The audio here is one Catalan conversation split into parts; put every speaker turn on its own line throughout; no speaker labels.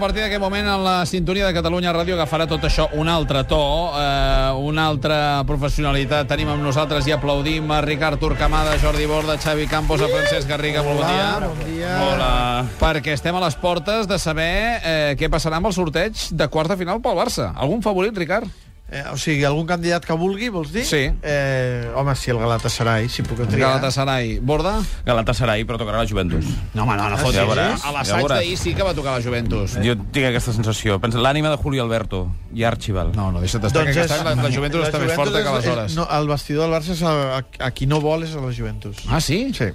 A partir d'aquest moment, en la sintonia de Catalunya Ràdio agafarà tot això un altre to, eh, una altra professionalitat. Tenim amb nosaltres i aplaudim a Ricard Turcamada, Jordi Borda, Xavi Campos, a Francesc Garriga. Molt bon dia.
bon dia.
Hola.
Perquè estem a les portes de saber eh, què passarà amb el sorteig de quarta final pel Barça. Algun favorit, Ricard?
Eh, o sigui, algun candidat que vulgui, vols dir?
Sí.
Eh, home, sí, el Galatasaray, si puc triar.
Galatasaray. Borda?
Galatasaray, però tocarà la Juventus.
No, home, no, no
fotis.
eh?
A l'assaig d'ahir sí que va tocar la Juventus.
Jo tinc aquesta sensació. Pensa, l'ànima de Julio Alberto i Archibald.
No, no, deixa't estar, doncs que aquesta, la, la Juventus
la
està més forta
és-
que
és-
aleshores.
No, el vestidor del Barça és a, a, a qui no vol és a la Juventus.
Ah, sí?
Sí.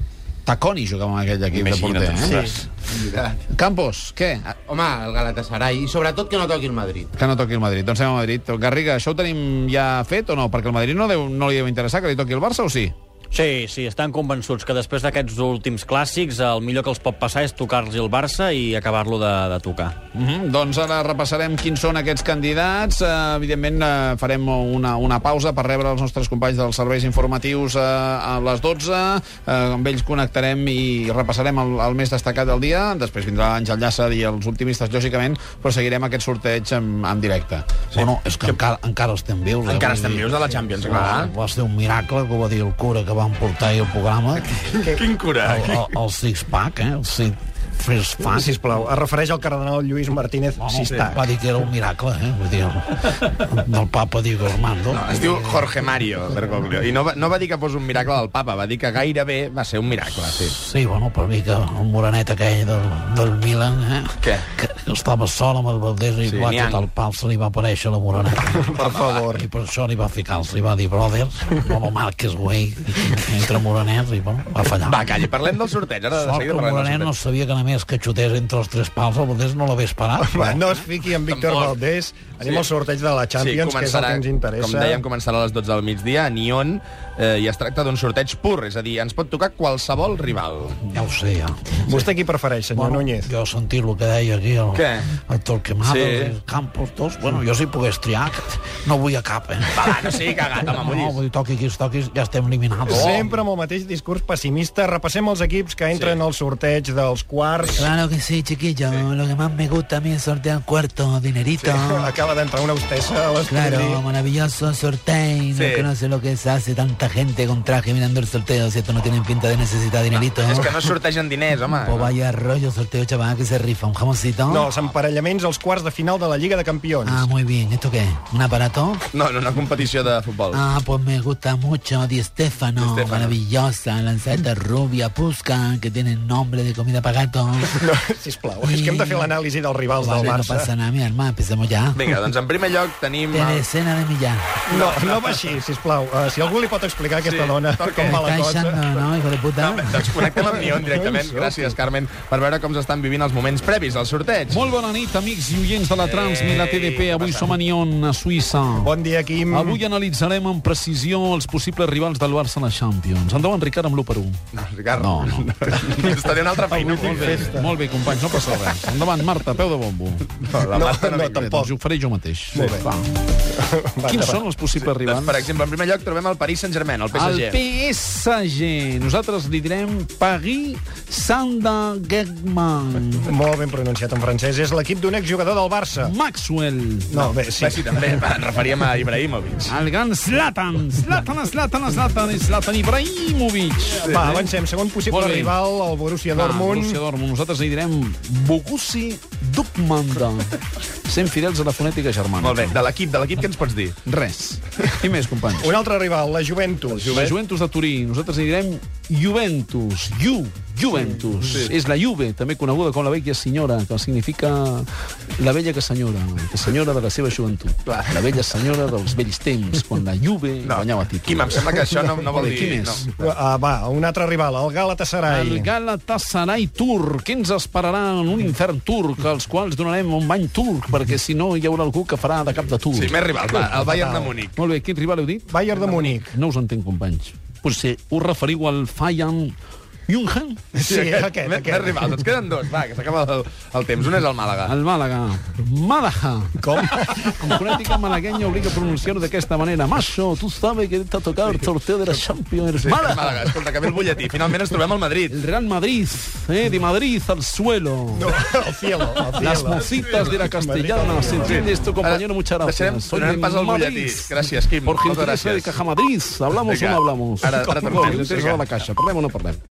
Taconi jugava amb aquell equip de
Imagina't,
porter, eh?
sí.
Campos, què?
Home, el Galatasaray, i sobretot que no toqui el Madrid.
Que no toqui el Madrid. Doncs anem a Madrid. Garriga, això ho tenim ja fet o no? Perquè el Madrid no, deu, no li deu interessar que li toqui el Barça o sí?
Sí, sí, estan convençuts que després d'aquests últims clàssics el millor que els pot passar és tocar-los el Barça i acabar-lo de, de tocar.
Mm -hmm. Doncs ara repassarem quins són aquests candidats. Uh, evidentment uh, farem una, una pausa per rebre els nostres companys dels serveis informatius uh, a les 12. Uh, amb ells connectarem i repassarem el, el més destacat del dia. Després vindrà Àngel Llàcer i els optimistes, lògicament, però seguirem aquest sorteig en, en directe.
Sí. Bueno, és que encara, encara estem vius. eh?
Encara
Vull
estem
dir,
vius de la Champions,
Ah.
clar.
Va ser un miracle que ho va dir el cura que van portar ahir al programa.
Quin cura.
eh?
El, el, el six-pack, eh? El six Fes
Ah,
pack.
sisplau, es refereix al cardenal Lluís Martínez
Bueno,
Sistac.
va dir que era un miracle, eh? Vull dir, el- del papa Diego Armando.
Es diu Jorge Mario Bergoglio. I no va, no va dir que fos un miracle del papa, va dir que gairebé va ser un miracle, sí.
Sí, bueno, per mi que el morenet aquell del, del Milan, eh?
Què?
Que, que estava sol amb el Valdés i
Sí,
sí, va
Niang.
tot el pal, se li va aparèixer la moreneta. per favor. I per això li va ficar, se li va dir, brother, no lo marques, güey, entre morenets, i bueno, va fallar.
Va, calla, parlem del sorteig. Ara de
Sort que
seguida
el
parlem del
Morenet
sorteig.
no sabia que només que xutés entre els tres pals el Valdés no l'hagués parat.
Va, no es fiqui amb Víctor
Tampoc.
Valdés. Anem al sorteig de la Champions, que és el que ens interessa.
Com dèiem, començarà a les 12 del migdia a Nyon eh, i es tracta d'un sorteig pur, és a dir, ens pot tocar qualsevol rival.
Ja ho sé, ja.
Vostè qui prefereix, senyor bueno, Núñez?
Jo he sentit el que deia aquí el,
Què?
el Torquemada,
Sí.
sí. el Campos, tots. Bueno, jo si pogués triar, no vull a cap, eh?
Va, va, no sigui cagat, home,
No,
mullis.
vull dir, toqui qui es toqui, ja estem eliminats.
Sempre amb el mateix discurs pessimista. Repassem els equips que entren
Sí.
al sorteig dels quarts.
Claro que sí, chiquillo. Lo que más me gusta a mí es sortear cuarto, dinerito.
Acaba d'entrar una hostessa a l'estudi.
Claro, maravilloso sorteo.
Sí.
No sé lo que se hace tanta gente con traje mirando el sorteo. Si esto no tienen pinta de necesitar dinerito.
És que no es sortegen diners, home.
O vaya rollo sorteo, chaval, que se rifa un jamoncito.
No, els emparellaments als quarts de final de la Lliga de Campions.
Ah, muy bien. ¿Esto qué? ¿Un aparato?
No, en una competició de futbol.
Ah, pues me gusta mucho Di
Di
Stefano,
Stéfano.
maravillosa, lanzata rubia, pusca, que tiene nombre de comida para gato.
No, sisplau, és que hem de fer l'anàlisi dels rivals
Vale,
del
no
Barça.
pasa nada, mi hermano, empecemos ya.
Vinga, doncs en primer lloc tenim... el-
Telecena de Millán.
No, no va així, sisplau. Uh, si algú li pot explicar a aquesta
Sí,
dona
perquè-
com va
Me
la
está echando,
cosa...
¿no, hijo de puta?
Doncs connectem amb Nion directament.
Ai,
Gràcies, Carmen, per veure com s'estan vivint els moments previs al sorteig.
Molt bona nit, amics i oients de la Trans,
Ei,
ni la TDP. Avui
passant.
som a Nyon, a Suïssa.
Bon dia, Quim.
Avui analitzarem amb precisió els possibles rivals del Barça a la Champions. Endavant, Ricard, amb l'1 per 1.
No, Ricard,
No, no.
Estaré una altra feina.
Molt bé, molt bé, companys, no passa res. Endavant, Marta, peu de bombo.
No, la Marta no,
no,
no,
Bé,
tampoc.
doncs ho faré jo mateix. Molt bé. Va. Quins són els possibles
Doncs, per
rivals?
exemple, en primer lloc trobem el Paris Saint-Germain, el
El
PSG.
PSG. Nosaltres li direm Paris Saint-Germain.
Molt ben pronunciat en francès. És l'equip d'un exjugador del Barça.
Maxwell.
No, bé, sí.
Sí. sí, també. Va, Ens referíem a Ibrahimovic.
El gran Zlatan. Zlatan, Zlatan, Zlatan, Zlatan Ibrahimovic.
Va, avancem. Segon possible
Molt bé.
rival, el Borussia
Va,
Dortmund.
Borussia Dortmund. Nosaltres li direm Bogusi Dukmanda. Sent fidels a la fonètica germana.
Molt bé, de l'equip, de l'equip, què ens pots dir?
Res. I més, companys.
Un altre rival, la Juventus.
La Juventus de Turí. Nosaltres li direm Juventus. Ju, Juventus. Sí, sí. És la Juve, també coneguda com la vella senyora, que significa la vella que senyora, que senyora de la seva joventut. La vella senyora dels vells temps, quan la Juve no. guanyava títols.
Quim, em sembla que això no, no vol
Molt bé,
dir...
Qui més?
No.
Ah, va, un altre rival, el
El
Galatasaray.
Galatasaray turc. Què ens esperarà en un infern turc, als quals donarem un bany turc, perquè si no hi haurà algú que farà de cap de turc.
Sí, més rivals, va, el Bayern de Múnich.
Molt bé, quin rival heu dit?
Bayern de Múnich.
No us entenc, companys. Potser us referiu al Feyenoord
Jungen.
Sí, aquest,
Més, més
aquest.
rivals. Ens queden dos, va, que s'acaba el, el temps. Un és el Màlaga.
El Màlaga. Málaga. Com? Con política malagueña obliga a pronunciar d'aquesta manera. Macho, tu sabes que te ha tocat el sorteo de la Champions.
Sí, el
Málaga.
Màlaga. Escolta, que ve el butlletí. Finalment ens trobem al Madrid.
El Real Madrid, eh, de Madrid al suelo.
El cielo, el cielo.
Las mositas de la castellana. ¿Se entiende esto, compañero? Muchas
Ara
gracias.
Deixem,
Soy
donarem
de
pas al
Madrid.
butlletí. Gràcies, Quim.
Por
Moltes
gentileza de
gràcies.
Caja Madrid. ¿Hablamos o
Vinga.
no hablamos?
Ara- ara
Com
tornem.
vulguis, és
Vinga.
de la caixa. Parlem o no parlem?